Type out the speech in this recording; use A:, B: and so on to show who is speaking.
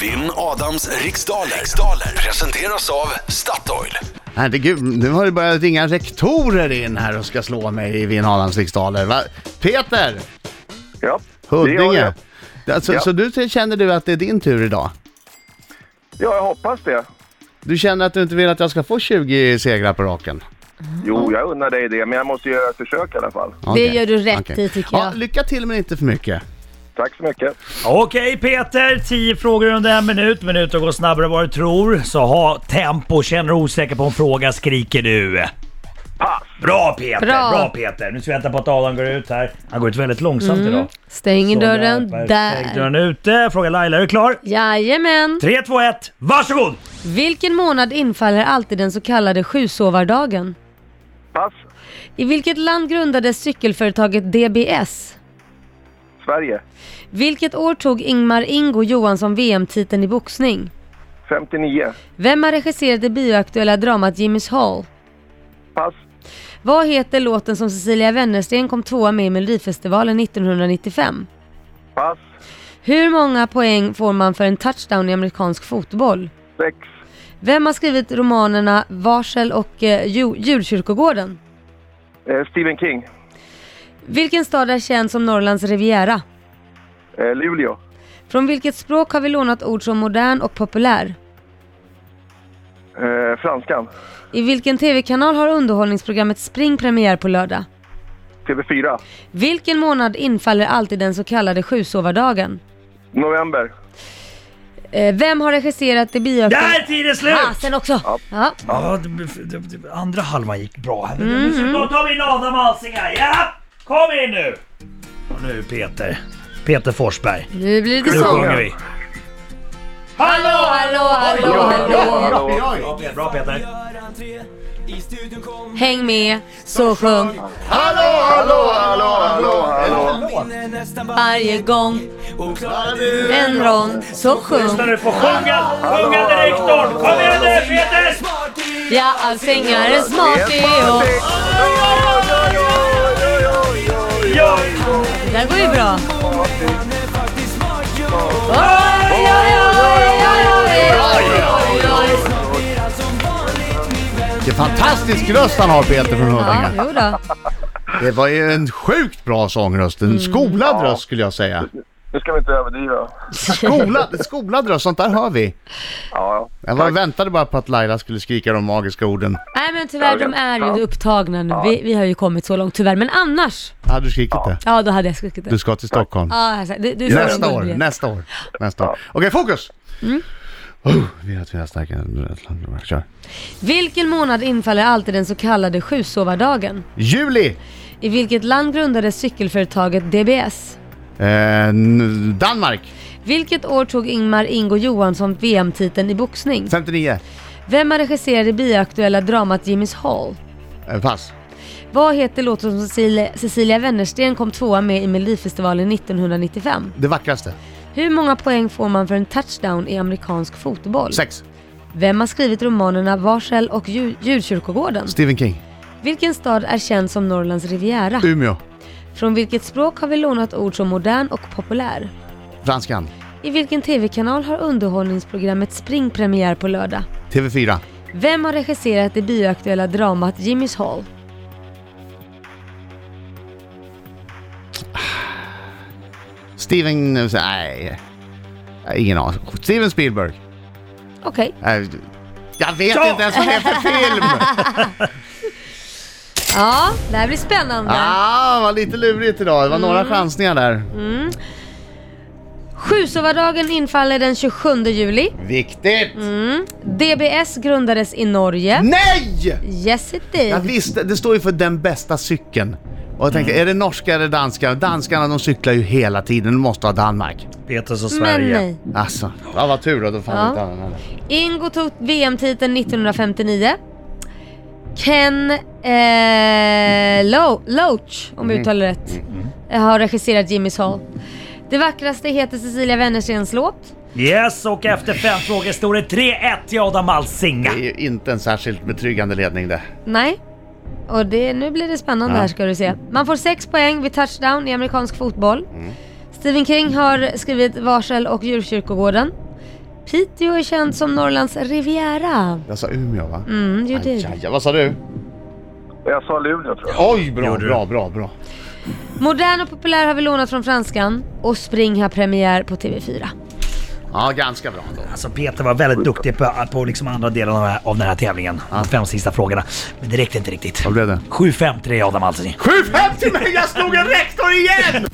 A: Vinn Adams riksdaler. riksdaler presenteras av Statoil.
B: Herregud, nu har det börjat ringa rektorer in här och ska slå mig i Vin Adams riksdaler. Va? Peter!
C: Ja, det gör
B: Huddinge!
C: jag.
B: Alltså,
C: Ja.
B: Så du känner du att det är din tur idag?
C: Ja, jag hoppas det.
B: Du känner att du inte vill att jag ska få 20 segrar på raken?
C: Jo, jag undrar dig det, men jag måste göra ett försök i alla fall.
B: Okej,
D: gör du rätt
B: okej.
D: i, tycker
B: Ja,
D: jag.
B: lycka till men inte för mycket.
C: Tack så mycket.
E: Okej Peter, 10 frågor under en minut. Minuter går snabbare än vad du tror. Så ha tempo. Känner du osäker på en fråga skriker du.
C: Pass!
E: Bra Peter! Bra,
D: Bra.
E: Peter! Nu ska vi vänta på att Adam går ut här. Han går ut väldigt långsamt idag.
D: Stäng
E: Så
D: Mm. dörren
E: perfekt.
D: där.
E: Dörren är ute. Fråga Laila, är du klar?
D: Jajamän!
E: 3, 2, 1, varsågod!
D: Vilken månad infaller alltid den så kallade sjusovardagen?
C: Pass!
D: I vilket land grundades cykelföretaget DBS?
C: Sverige.
D: Vilket år tog Ingmar Ingo Johansson VM-titeln i boxning?
C: 59.
D: Vem har regisserat det bioaktuella dramat Jimmy's Hall?
C: Pass!
D: Vad heter låten som Cecilia Wennersten kom tvåa med i Melodifestivalen 1995?
C: Pass!
D: Hur många poäng får man för en touchdown i amerikansk fotboll?
C: 6.
D: Vem har skrivit romanerna Varsel och eh, Ju- Djurkyrkogården?
C: Eh, Stephen King.
D: Vilken stad är känd som Norrlands riviera?
C: Eh, Luleå.
D: Från vilket språk har vi lånat ord som modern och populär?
C: Eh, franskan.
D: I vilken tv-kanal har underhållningsprogrammet Spring premiär på lördag?
C: TV4.
D: Vilken månad infaller alltid den så kallade sjusovardagen?
C: November.
D: Eh, vem har regisserat det bioaktuella...
E: Där är tiden slut!
D: Fasen också! Ja.
E: Ja, det, det, det, andra halvan gick bra här.
D: Mm.
E: Nu ska- Då tar vi in Adam Alsing här. Ja, kom in nu! Och nu Peter. Peter Forsberg.
D: Nu blir det
E: Nu
D: sång.
E: sjunger vi.
D: Hallå, hallå, hallå, hallå!
E: Bra Peter, Bra Peter.
D: Häng med, så sjung
C: Hallå, hallå!
D: varje gång en rond, så
E: Lyssna
D: sjung
E: nu på sjunga, sjungande rektorn. Kom igen nu Peter!
D: Ja, allsångaren smartig och...
E: Ja,
D: Det där går ju bra. Oj, oj, oj, oj, oj, oj, oj.
B: Vilken fantastisk röst han har Peter från
D: Ja,
B: Huddinge.
D: jo då.
B: Det var ju en sjukt bra sångröst.
D: Mm.
B: En skolad röst skulle jag säga.
C: Nu ska vi inte överdriva.
B: Skolad, skolad röst, sånt där hör vi.
C: Ja,
B: Jag var, väntade bara på att Laila skulle skrika de magiska orden.
D: Nej men tyvärr, de är ju upptagna nu. Vi, vi har ju kommit så långt tyvärr. Men annars,
B: Hade du skrikit det?
D: ja då hade jag skrikit
B: Du
D: det.
B: ska till Stockholm.
D: Ja, alltså, du, du får
B: Nästa
D: en
B: år,
D: budget.
B: nästa år, nästa år. Okej, fokus! Oh, vi är att vi är starka. Kör.
D: Vilken månad infaller alltid den så kallade sjusovardagen?
B: Juli!
D: I vilket land grundades cykelföretaget DBS?
B: Eh, n- Danmark!
D: Vilket år tog Ingmar Ingo Johansson VM-titeln i boxning?
B: 59.
D: Vem har regisserat det bioaktuella dramat Jimmy's Hall?
B: Eh, pass.
D: Vad heter låten som Cecilia, Cecilia Wennersten kom tvåa med i Melodifestivalen 1995?
B: Det vackraste.
D: Hur många poäng får man för en touchdown i amerikansk fotboll?
B: Sex.
D: Vem har skrivit romanerna Varsel och Djur- Djurkyrkogården?
B: Stephen King.
D: Vilken stad är känd som Norrlands riviera?
B: Umeå.
D: Från vilket språk har vi lånat ord som modern och populär?
B: Franskan.
D: I vilken tv-kanal har underhållningsprogrammet Spring premiär på lördag?
B: TV4.
D: Vem har regisserat det bioaktuella dramat Jimmy's Hall?
B: Steven... eh, Nej. Nej, Ingen aning. Steven Spielberg.
D: Okej.
B: Nej, Jag vet
E: Ja!
B: inte ens vad det är för film!
D: Ja, det här blir spännande.
B: Ah, vad lite lurigt idag. Det var några chansningar där.
D: Sjusovardagen infaller den 27 juli.
B: Viktigt!
D: Mm. DBS grundades i Norge.
B: Nej!
D: Yes it
B: Jag
D: did.
B: visste, Mm. det står ju för den bästa cykeln. Och jag
D: Mm.
B: tänkte, är det norska eller danska? Danskarna de cyklar ju hela tiden, de måste ha Danmark.
E: Peters och
D: Men
E: Sverige.
D: nej.
B: Alltså, ja, vad tur då, då fann
D: Ja.
B: inte annan heller.
D: Ingo tog VM-titeln 1959. Ken eh, Lo- Loach, om jag uttalar rätt, har regisserat Jimmy's Hall. Det vackraste heter Cecilia Wennerstens låt.
E: Yes, och efter fem frågor står det 3-1 till Adam Alsinga.
B: Det är ju inte en särskilt betryggande ledning det.
D: Nej. Och det, nu blir det spännande här ska du se. Man får sex poäng vid touchdown i
B: Mm.
D: amerikansk fotboll. Stephen King har skrivit Varsel och Djurkyrkogården. Piteå är känt som Norrlands Riviera.
B: Jag sa Umeå va?
D: Mm, det gjorde
B: Aj,
D: du.
B: aj, aj, vad sa du?
C: Jag sa Luleå tror jag.
B: Oj, bra,
E: Gjorde du?
B: bra, bra, bra.
D: Modern och populär har vi lånat från franskan och Spring har premiär på TV4.
B: Ja, ganska bra ändå.
E: Alltså Peter var väldigt duktig på, på liksom andra delen av, av den här tävlingen. De fem sista frågorna. Men det räckte inte riktigt.
B: Vad blev det?
E: 7-5 till dig Adam Alsing.
B: 7-5 till mig! Jag slog en rektor igen!